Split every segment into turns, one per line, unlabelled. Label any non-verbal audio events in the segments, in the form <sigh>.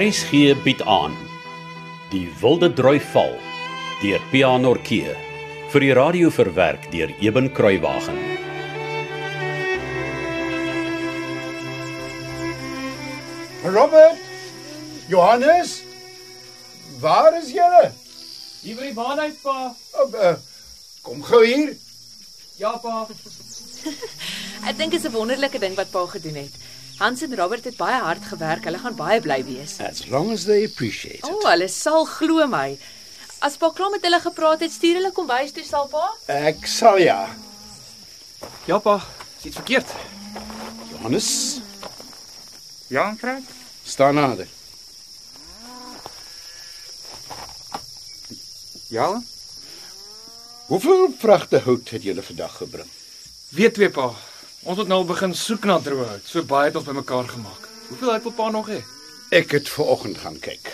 RSG bied aan Die Wilde Droi Val deur Pianorkee vir die radio verwerk deur Eben Kruiwagen.
Robert, Johannes, waar is julle?
Hier by die baan uit pa.
Oh, eh, Kom gou hier.
Ja pa.
Ek dink dit is 'n wonderlike ding wat pa gedoen het. Hans en Robert het baie hard gewerk. Hulle gaan baie bly wees.
As long as they appreciate
O, oh, hulle sal glo my. As pa klaar met hulle gepraat het, stuur hulle kombuis toe sal pa.
Ek sal ja.
Ja pa, is iets verkeerd.
Johannes,
Ja, Frank.
staan nader.
Ja.
Hoeveel vragte hout het julle vandag gebring?
Weet twee pa. Ons het nou al begin soek na droëhout. So baie het ons bymekaar gemaak. Hoeveel hout wil pa nog hê?
Ek het ver oggend gaan kyk.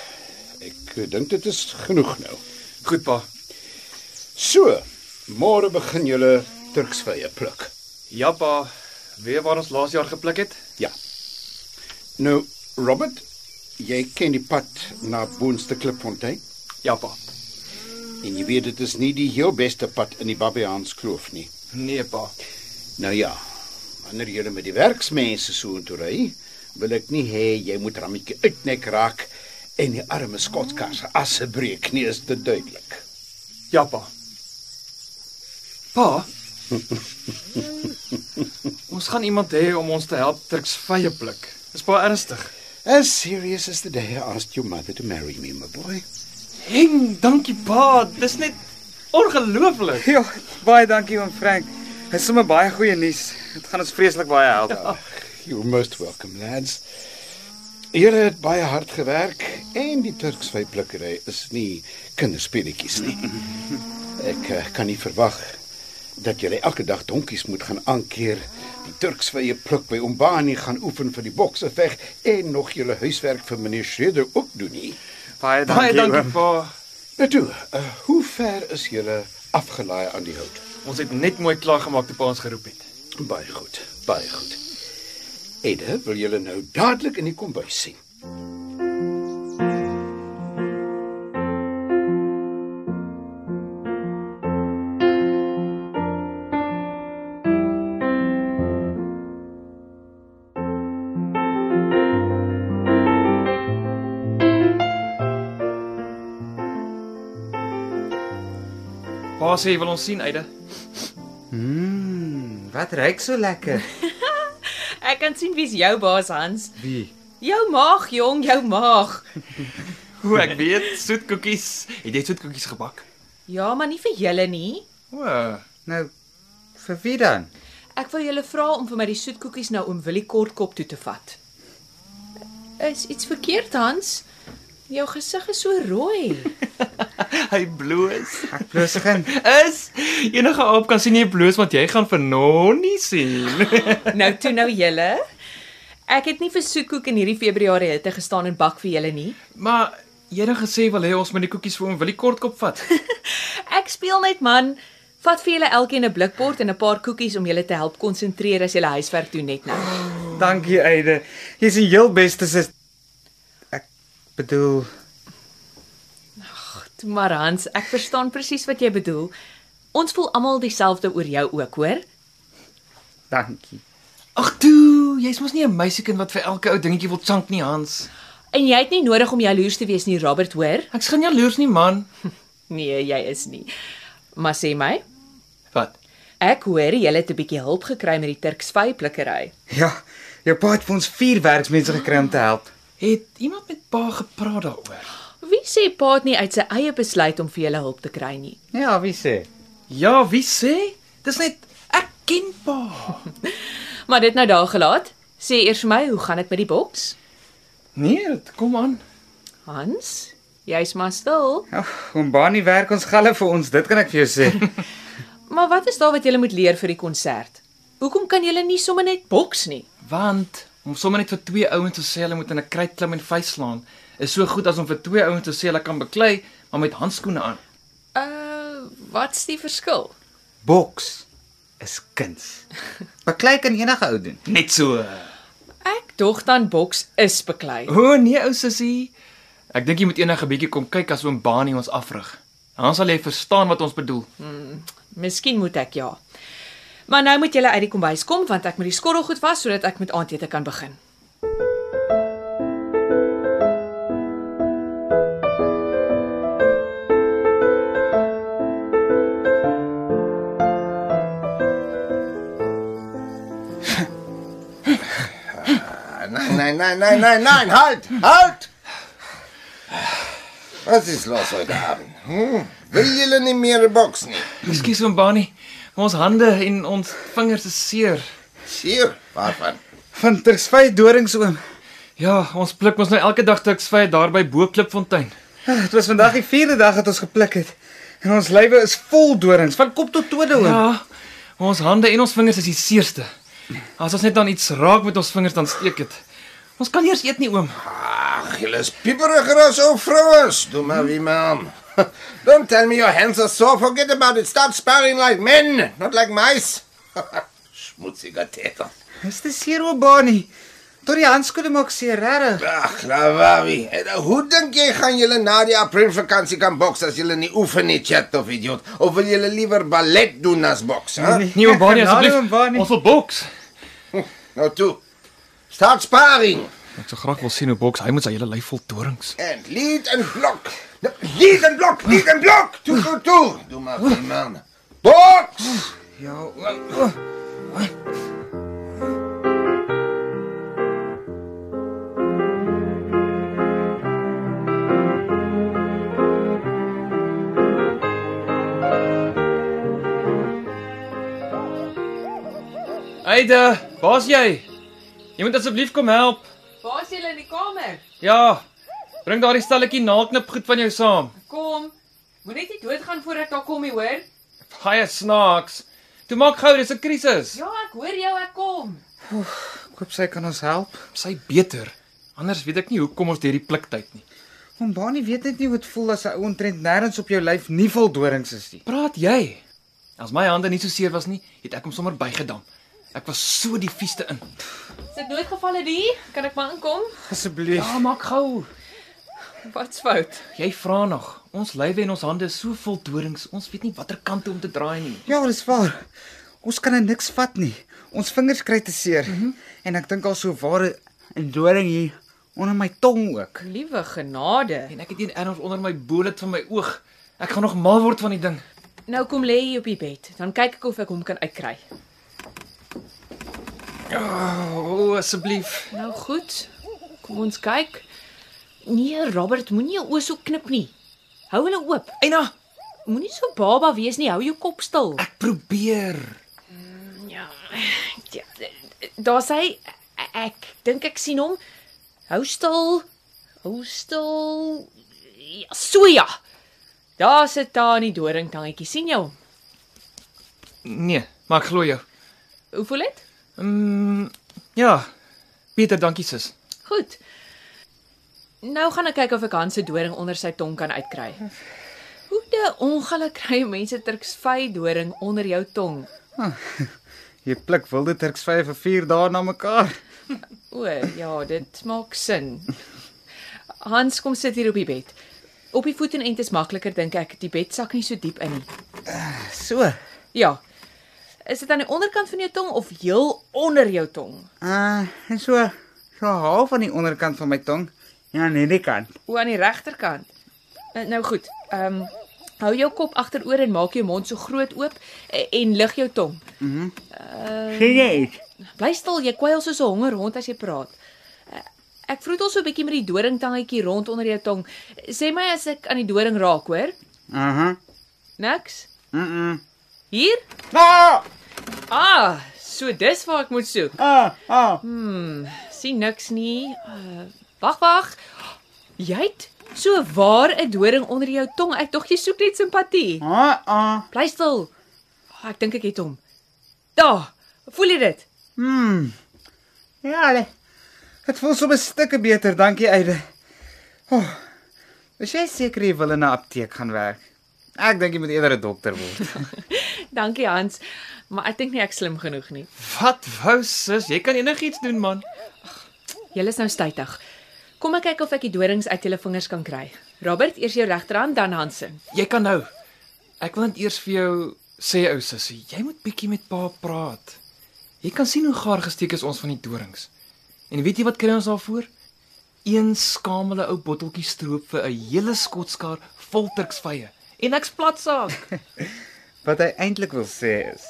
Ek eh, dink dit is genoeg nou.
Goed pa.
So, môre begin julle turksvye pluk.
Ja pa. Weet waar ons laas jaar gepluk het?
Ja. Nou, Robert, jy ken die pad na Boonste Klipfontein?
Ja pa.
En jy weet dit is nie die heel beste pad in die Babbejaans Kloof nie.
Nee pa.
Nou ja, wanneer jy met die werksmense so intoe ry, wil ek nie hê jy moet rammetjie uitnek raak en die arme skotskar se asse breek nie, is dit duidelik.
Ja pa. <laughs> Pa. ons gaan iemand hê om ons te help truks vye pluk. Is pa ernstig?
As serious as the day I asked your mother to marry me, my boy.
Heng, dankie pa. Dis net ongelooflik.
Ja, baie dankie oom Frank. Dit is sommer baie goeie nuus. Dit gaan ons vreeslik baie help. Ja.
You're most welcome, lads. Julle het baie hard gewerk en die turksvyplukkery is nie kinderspeletjies nie. Ek eh, kan nie verwag dat julle elke dag donkies moet gaan aankeer, die turksvye pluk by Ombani gaan oefen vir die bokseveg en nog julle huiswerk vir meneer Schreder ook doen nie.
Baie dankie.
Baie dankie
oom.
pa.
Nou toe, uh, hoe ver is julle afgelaai aan die hout?
Ons het net mooi klaar gemaak toe pa ons geroep het.
Baie goed, baie goed. Edde, wil julle nou dadelik in die kombuis sien?
Pa sê jy wil ons sien, Eide.
Wat ruik so lekker?
Ek kan sien wie's jou baas Hans.
Wie?
Jou maag, jong, jou maag.
Hoe ek weet, soetkoekies. Het jy soetkoekies gebak?
Ja, maar nie vir julle nie.
O,
Nou vir wie dan?
Ek wil julle vra om vir my die soetkoekies na oom Willie Kortkop toe te vat. Is iets verkeerd Hans? Jou gesig is so rooi.
hy bloos.
Ek bloos geen.
Is enige aap kan sien jy bloos want jy gaan vir Nonnie sien.
Nou toe nou julle. Ek het nie vir soetkoek in hierdie Februarie hitte gestaan en bak vir julle nie.
maar jy het gesê wil hê ons moet die koekies vir hom wil die kortkop vat.
Ek speel net man. Vat vir julle elkeen 'n blikbord en 'n paar koekies om julle te help konsentreer as julle huiswerk doen net nou.
Dankie Eide. Jy's die heel beste sis. Ek bedoel,
Goed, maar Hans, ek verstaan presies wat jy bedoel. Ons voel almal dieselfde oor jou ook, hoor?
dankie.
Ag toe, jy's mos nie 'n meisiekind wat vir elke ou dingetjie wil chunk nie, Hans.
En jy het nie nodig om jaloers te wees nie, Robert, hoor?
Ek skyn jaloers nie, man.
Nee, jy is nie. Maar sê my,
Wat?
ek hoor jy het 'n bietjie hulp gekry met die Turksvy blikkery.
Ja, jou pa het vir ons vier werksmense gekry om te help.
Het iemand met pa gepraat daaroor?
Wie sê pa het nie uit sy eie besluit om vir julle hulp te kry nie?
Ja, wie sê?
Ja, wie sê? Dis net ek ken pa.
Maar dit nou daar gelaat. Sê eers vir my, hoe gaan dit met die boks?
Nee, dit kom aan.
Hans, jy's maar stil.
Ja, oom Bani werk ons galle vir ons, dit kan ek vir jou <laughs> sê.
Maar wat is daar wat jy moet leer vir die konsert? Hoekom kan jy nie sommer net boks nie?
Want om sommer net vir twee ouens te sê hulle moet in 'n kruit klim en vyf slaan, is so goed as om vir twee ouens te sê hulle kan beklei, maar met handskoene aan.
Uh, wat's die verskil?
<laughs> Boks is kuns. Baklei kan enige ou doen.
Net so.
Ek Dogtan Boks is beklei.
O oh, nee, ou sussie. Ek dink jy moet eendag 'n bietjie kom kyk as oom Bani ons afrig. Dan sal jy verstaan wat ons bedoel.
Miskien moet ek ja. Maar nou moet julle uit die kombuis kom want ek moet die skorrel goed was sodat ek met aandete kan begin.
Nein, nein, nein, nein, nein, nein, halt, halt! Was is los heute Abend? Hm? Wil julle nie meer boks nie?
Ekskuus oom Bani, maar ons hande en ons vingers is seer.
Seer, waarvan?
Van tersvy dorings oom.
Ja, ons pluk mos nou elke dag tuksvy daar by Bo Klipfontein.
Dit Ah, was vandag die vierde dag dat ons gepluk het. En ons lywe is vol dorings van kop tot tone oom.
Ja, ons hande en ons vingers is die seerste. As ons net dan iets raak met ons vingers dan steek dit. Ons kan nie eers eet nie, oom.
Ach, julle is pieperiger as ou vrouens. Doe maar wie man. <laughs> Don't tell me your hands are sore. Forget about it. Start sparring like men, not like mice. <laughs> Schmutziger Täter.
Dis te seer oom Bani. Tot die handskoene maak seer regtig.
Ag, Lavavi, er hoe dink jy gaan julle na die Aprilvakansie kan boks as julle nie oefen nie, chat of idiot? Of wil julle liewer ballet doen as boks, hè?
Nee,
Nee, oom Bani
genade,
asseblief.
oom Bani.
Ons wil boks.
Nou toe. Start sparring
Ek sou graag wil sien hoe boks hy met sy hele lyf vol dorings.
and lead and block. No, Lead and block, lead and block. Toe, toe, toe. Doe maar, die man. Boks!
Ja, oom. O,
Eide, waar's jy? Jy moet asseblief kom help.
Waar is julle in die kamer?
Ja. Bring daardie stalletjie naalknip goed van jou saam.
Kom. Moenie net doodgaan voor ek daar kom nie, hoor?
Baie snaaks. Toe maak gou, dis 'n krisis.
Ja, ek hoor jou, ek kom.
Koop sy kan ons help.
Sy beter. Anders weet ek nie hoekom ons hierdie pliktyd nie.
Oom Bani weet net nie hoe dit voel as 'n ou ontrent nêrens op jou lyf nie vol dorings is nie.
Praat jy? As my hande nie so seer was nie, het ek hom sommer bygedam. Ek was so die vieste in.
Is dit nooit gevalle die? Kan ek maar inkom?
Asseblief.
Ja, maak gou.
Wat's fout?
Jy vra nog. Ons lywe en ons hande is so vol dorings. Ons weet nie watter kant toe om te draai nie.
Ja, dis waar. Ons kan nou niks vat nie. Ons vingers kry te seer. Mm -hmm. En ek dink al so ware 'n doring hier onder my tong ook.
Liewe genade.
En ek het een erns onder my bolet van my oog. Ek gaan nog mal word van die ding.
Nou kom lê hier op die bed, dan kyk ek of ek hom kan uitkry.
O, oh, asseblief.
Nou goed. Kom ons kyk. Nee, Robert, moenie jou oë so knip nie. Hou hulle oop.
Eina,
Moenie so baba wees nie. Hou jou kop stil.
ek probeer.
Ja. ja Daar's hy. Ek dink ek sien hom. Hou stil. Hou stil. Ja, so ja. Daar sit daar in die doringtangetjie. sien jy hom?
Nee, maar ek glo jou.
Hoe voel dit?
Mm, ja. Pieter, dankie sis.
Goed. Nou gaan ek kyk of ek Hans se doring onder sy tong kan uitkry. Hoe die ongeluk kry mense Turksvy doring onder jou tong?
Jy pluk wilde turks vyf vir 4 dae na mekaar.
O, ja, dit maak sin. Hans kom sit hier op die bed. Op die voet en end is makliker dink ek. Die bed sak nie so diep in nie.
So.
Ja. Is dit aan die onderkant van jou tong of heel onder jou tong?
Ah, uh, en so so half aan die onderkant van my tong. Ja, aan hierdie kant.
O, aan die regterkant. Eh, Nou goed. Ehm um, hou jou kop agteroor en maak jou mond so groot oop eh, en lig jou tong.
Sien jy iets?
Bly stil, jy kwyl soos 'n honger hond as jy praat. Eh, Ek vroetel so 'n bietjie met die doringtangetjie rond onder jou tong. Sê my as ek aan die doring raak, hoor?
Aha.
Niks.
Mm. -mm.
Hier?
Ah!
Ah, so dis waar ek moet soek.
Ah! Ah!
Sien niks nie. Uh, Wag, wag. Jy het so waar 'n doring onder jou tong. Ek dog jy soek net simpatie.
Ah! ah.
Bly stil. Ah, ek dink ek het hom. Daar. Voel jy dit?
Hmm. Ja, le. Dit voel so 'n stukkie beter, dankie Eide. Oh, is jy seker jy wil in 'n apteek gaan werk? Ek dink jy moet eerder 'n dokter word.
Dankie Hans, maar ek dink nie ek slim genoeg nie.
Wat wou sis? Jy kan enigiets doen man.
Julle is nou stytig. Kom ek kyk of ek die dorings uit julle vingers kan kry. Robert, eers jou regterhand dan Hansen.
Jy kan nou. Ek wil net eers vir jou sê ou sussie, jy moet bietjie met pa praat. Jy kan sien hoe gaar gesteek is ons van die dorings. En weet jy wat kry ons daarvoor? Een skamele ou botteltjie stroop vir 'n hele skotskar vol turksvye. En ek's platsaak.
Wat hy eintlik wil sê is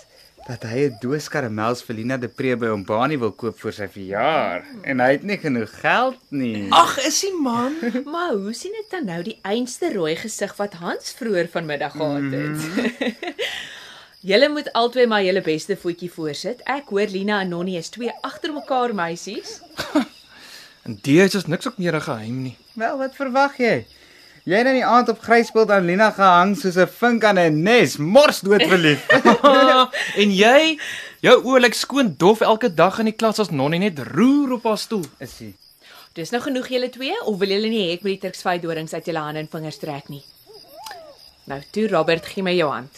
dat hy 'n doos karamels vir Lina de Pre by hom Bani wil koop vir sy verjaar en hy het nie genoeg geld nie.
Ag, is hy man.
<laughs> Maar hoe sien ek dan nou die einste rooi gesig wat Hans vroeër vanmiddag gehad het?
Mm.
<laughs> julle moet albei maar julle beste voetjie voorsit. Ek hoor Lina en Nonnie is twee agter mekaar meisies.
En dit is niks ook meer 'n geheim <laughs> nie.
Wel, wat verwag jy? Jy het in die aand op Grysveld aan Lina gehang soos 'n vink aan 'n nes, mors dood verlief.
Ah, en jy, jou oë lyk skoon dof elke dag in die klas as Nonnie net roer op haar stoel.
Is hy?
Dis nou genoeg julle twee of wil julle nie hê ek moet die Turksvy dorings uit julle hande en vingers trek nie? Nou toe Robert, gee my jou hand.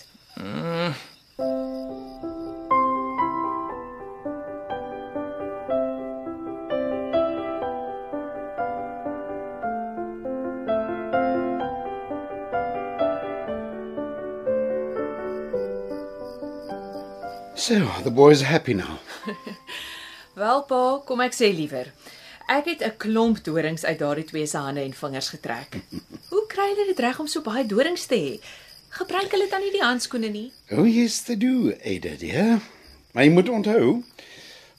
So, the boys are happy now.
Wel pa, kom ek sê liewer. Ek het 'n klomp dorings uit daardie twee se hande en vingers <laughs> getrek. Hoe kry hulle dit reg om so baie dorings te hê? Gebruik hulle dan nie die handskoene nie?
Oh yes, they do, Ada dear. Maar jy moet onthou,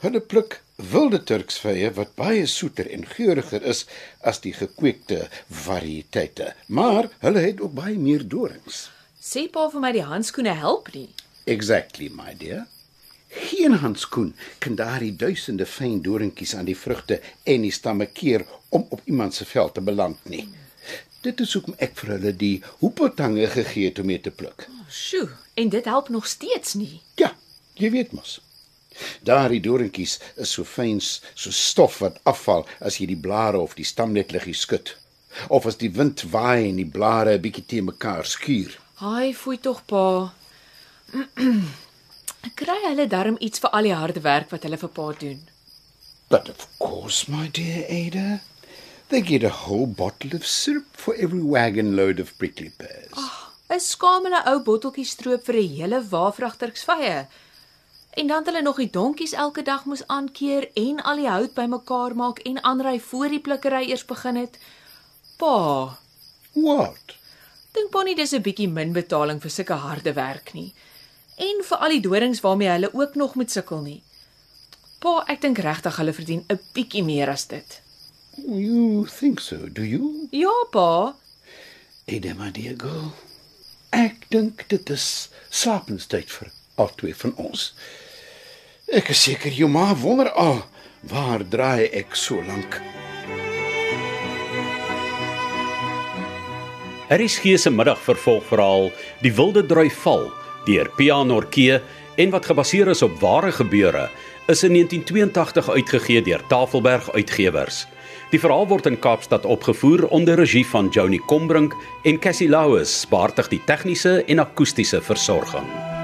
hulle pluk wilde turksvye wat baie soeter en geuriger is as die gekweekte variëteite, maar hulle het ook baie meer dorings.
Sê pa vir my die handskoene help nie.
Exactly, my dear. Geen handskoen kan daardie duisende fyn doringkies aan die vrugte en die stamme keer om op iemand se vel te beland nie. Dit is hoekom ek vir hulle die hoepeltange gegee het om mee te pluk.
Oh, Sjoe, en dit help nog steeds nie.
Ja, jy weet mos. Daardie doringkies is so fyn so stof wat afval as jy die blare of die stam net liggie skud of as die wind waai en die blare 'n bietjie te mekaar skuur.
Haai, foei tog pa. <clears throat> Kry hulle darm iets vir al die harde werk wat hulle vir pa doen?
But of course, my dear Ada, they get a whole bottle of syrup for every wagon load of prickly pears.
'n Skamele ou botteltjie stroop vir 'n hele waafragterksvye. En dan het hulle nog die donkies elke dag moes aankeer en al die hout bymekaar maak en aanry voor die plukkery eers begin het. Pa,
What?
dink pa nie dis 'n bietjie min betaling vir sulke harde werk nie. En vir al die dorings waarmee hulle ook nog moet sukkel nie. Pa, ek dink regtig hulle verdien 'n bietjie meer as dit.
You think so, do you?
Ja, pa.
Ada, my dear girl. Ek dink dit is slapenstyd vir albei van ons. Ek is seker jou ma wonder al waar draai ek so lank.
Harris gee se middag vervolgverhaal Die Wilde Drui Val deur Pianorkee en wat gebaseer is op ware gebeure is in 1982 uitgegee deur Tafelberg Uitgewers. Die verhaal word in Kaapstad opgevoer onder regie van Johnny Combrink en Cassie Louws, behartig die tegniese en akoestiese versorging.